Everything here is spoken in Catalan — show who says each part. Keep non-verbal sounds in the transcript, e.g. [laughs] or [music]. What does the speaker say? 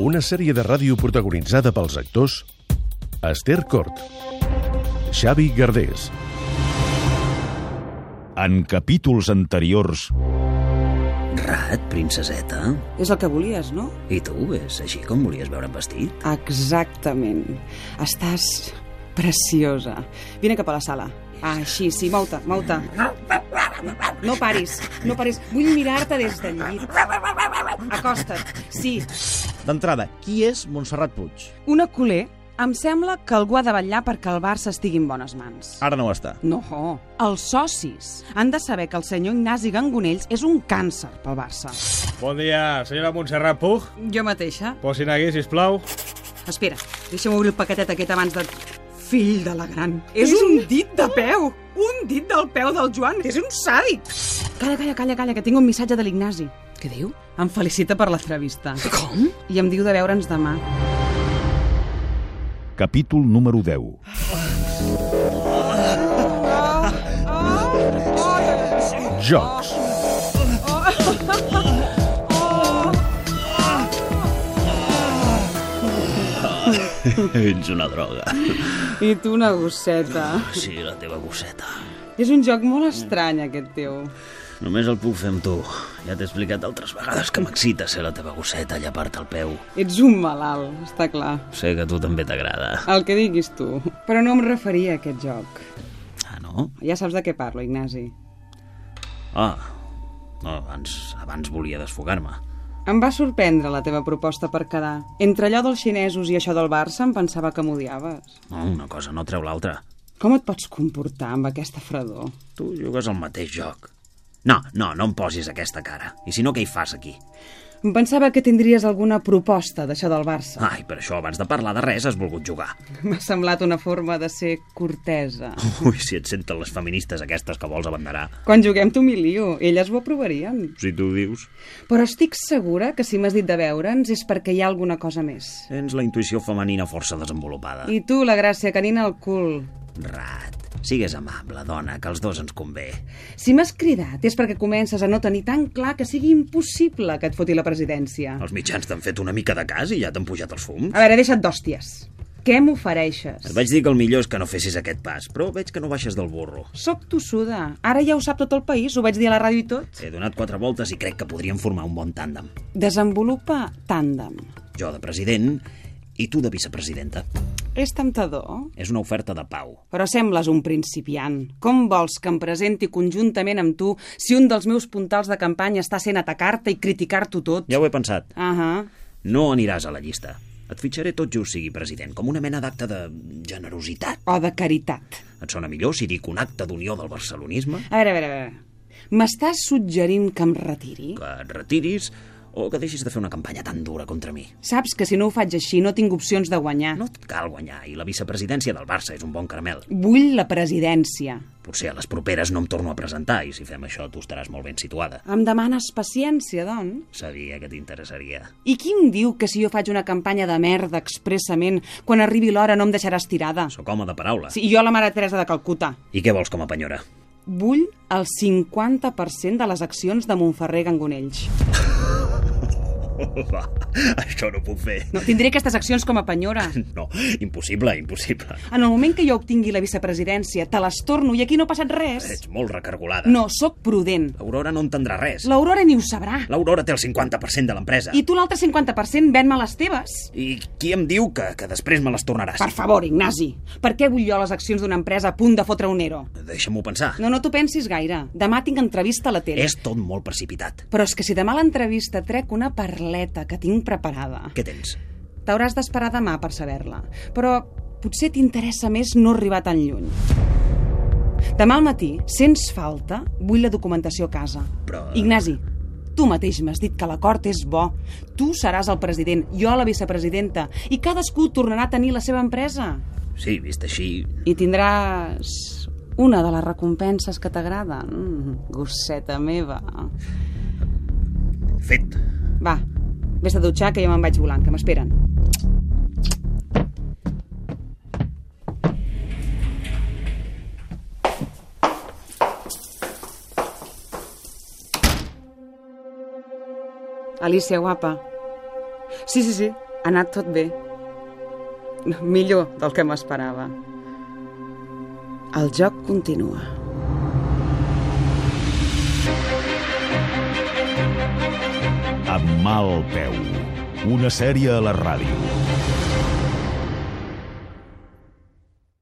Speaker 1: Una sèrie de ràdio protagonitzada pels actors Esther Cort, Xavi Gardés,
Speaker 2: En capítols anteriors...
Speaker 3: Rat, princeseta.
Speaker 4: És el que volies, no?
Speaker 3: I tu, és així com volies veure'm vestit?
Speaker 4: Exactament. Estàs preciosa. Vine cap a la sala. Ah, així, sí, mou-te, mou-te. No paris, no paris. Vull mirar-te des del llit. Acosta't, sí.
Speaker 5: D'entrada, qui és Montserrat Puig?
Speaker 4: Una culer em sembla que algú ha de vetllar perquè el Barça estigui en bones mans.
Speaker 5: Ara no ho està.
Speaker 4: No, els socis han de saber que el senyor Ignasi Gangonells és un càncer pel Barça.
Speaker 6: Bon dia, senyora Montserrat Puig.
Speaker 4: Jo mateixa.
Speaker 6: Posin aquí, sisplau.
Speaker 4: Espera, deixa'm obrir el paquetet aquest abans de... Fill de la gran. És un dit de peu. Un dit del peu del Joan. És un sàdic. Calla, calla, calla, calla, que tinc un missatge de l'Ignasi. Què diu? Em felicita per l'entrevista. Com? I em diu de veure'ns demà.
Speaker 2: Capítol número 10.
Speaker 1: Jocs.
Speaker 3: Ets una droga.
Speaker 4: I tu una gosseta.
Speaker 3: Sí, la teva gosseta.
Speaker 4: És un joc molt estrany, aquest teu.
Speaker 3: Només el puc fer amb tu. Ja t'he explicat altres vegades que m'excita ser la teva gosseta llapar-te el peu.
Speaker 4: Ets un malalt, està clar.
Speaker 3: Sé que a tu també t'agrada.
Speaker 4: El que diguis tu. Però no em referia a aquest joc.
Speaker 3: Ah, no?
Speaker 4: Ja saps de què parlo, Ignasi.
Speaker 3: Ah, no, abans, abans volia desfogar-me.
Speaker 4: Em va sorprendre la teva proposta per quedar. Entre allò dels xinesos i això del Barça em pensava que m'odiaves.
Speaker 3: No, una cosa no treu l'altra.
Speaker 4: Com et pots comportar amb aquesta fredor?
Speaker 3: Tu jugues al mateix joc. No, no, no em posis aquesta cara. I si no, què hi fas aquí?
Speaker 4: Em pensava que tindries alguna proposta d'això del Barça. [laughs]
Speaker 3: Ai, per això abans de parlar de res has volgut jugar.
Speaker 4: M'ha semblat una forma de ser cortesa.
Speaker 3: Ui, si et senten les feministes aquestes que vols abanderar.
Speaker 4: Quan juguem t'humilio, elles ho aprovarien.
Speaker 3: Si tu dius...
Speaker 4: Però estic segura que si m'has dit de veure'ns és perquè hi ha alguna cosa més.
Speaker 3: Tens la intuïció femenina força desenvolupada. I...
Speaker 4: I tu, la gràcia canina al cul.
Speaker 3: Rat, sigues amable, dona, que els dos ens convé.
Speaker 4: Si m'has cridat és perquè comences a no tenir tan clar que sigui impossible que et foti la presidència.
Speaker 3: Els mitjans t'han fet una mica de cas i ja t'han pujat els fums.
Speaker 4: A veure, deixa't d'hòsties. Què m'ofereixes?
Speaker 3: Et vaig dir que el millor és que no fessis aquest pas, però veig que no baixes del burro.
Speaker 4: Soc tossuda. Ara ja ho sap tot el país, ho vaig dir a la ràdio i tot.
Speaker 3: He donat quatre voltes i crec que podríem formar un bon tàndem.
Speaker 4: Desenvolupa tàndem.
Speaker 3: Jo de president i tu de vicepresidenta.
Speaker 4: És temptador,
Speaker 3: És una oferta de pau.
Speaker 4: però sembles un principiant. Com vols que em presenti conjuntament amb tu si un dels meus puntals de campanya està sent atacar-te i criticar-t'ho tot?
Speaker 3: Ja ho he pensat.
Speaker 4: Ahà.
Speaker 3: No aniràs a la llista. Et fitxaré tot just sigui president, com una mena d'acte de generositat.
Speaker 4: O de caritat.
Speaker 3: Et sona millor si dic un acte d'unió del barcelonisme?
Speaker 4: A veure, a veure, a veure. M'estàs suggerint que em retiri?
Speaker 3: Que et retiris o que deixis de fer una campanya tan dura contra mi?
Speaker 4: Saps que si no ho faig així no tinc opcions de guanyar.
Speaker 3: No et cal guanyar, i la vicepresidència del Barça és un bon caramel.
Speaker 4: Vull la presidència.
Speaker 3: Potser a les properes no em torno a presentar, i si fem això tu estaràs molt ben situada.
Speaker 4: Em demanes paciència, doncs?
Speaker 3: Sabia que t'interessaria.
Speaker 4: I qui em diu que si jo faig una campanya de merda expressament, quan arribi l'hora no em deixaràs tirada?
Speaker 3: Sóc home de paraula.
Speaker 4: Sí, i jo la Mare Teresa de Calcuta.
Speaker 3: I què vols com a penyora?
Speaker 4: Vull el 50% de les accions de Montferrer Gangonells.
Speaker 3: Oh, va, això no ho puc fer.
Speaker 4: No, tindré aquestes accions com a penyora.
Speaker 3: No, impossible, impossible.
Speaker 4: En el moment que jo obtingui la vicepresidència, te les torno i aquí no ha passat res.
Speaker 3: Ets molt recargolada.
Speaker 4: No, sóc prudent.
Speaker 3: L'Aurora no entendrà res.
Speaker 4: L'Aurora ni ho sabrà.
Speaker 3: L'Aurora té el 50% de l'empresa.
Speaker 4: I tu l'altre 50% ven-me les teves.
Speaker 3: I qui em diu que, que després me les tornaràs?
Speaker 4: Per favor, Ignasi, per què vull jo les accions d'una empresa a punt de fotre un ero?
Speaker 3: Deixa'm-ho pensar.
Speaker 4: No, no t'ho pensis gaire. Demà tinc entrevista a la tele.
Speaker 3: És tot molt precipitat.
Speaker 4: Però és que si demà a l'entrevista trec una parleta que tinc preparada,
Speaker 3: Què tens?
Speaker 4: t'hauràs d'esperar demà per saber-la. Però potser t'interessa més no arribar tan lluny. Demà al matí, sens falta, vull la documentació a casa.
Speaker 3: Però-
Speaker 4: Ignasi, Tu mateix m'has dit que l'acord és bo. Tu seràs el president, jo la vicepresidenta, i cadascú tornarà a tenir la seva empresa.
Speaker 3: Sí, vist així...
Speaker 4: I tindràs una de les recompenses que t'agraden. Mm, gosseta meva.
Speaker 3: Fet.
Speaker 4: Va, vés a dutxar, que jo me'n vaig volant, que m'esperen. Alicia, guapa. Sí, sí, sí, ha anat tot bé. Millor del que m'esperava. El joc continua.
Speaker 2: Amb mal peu. Una sèrie a la ràdio.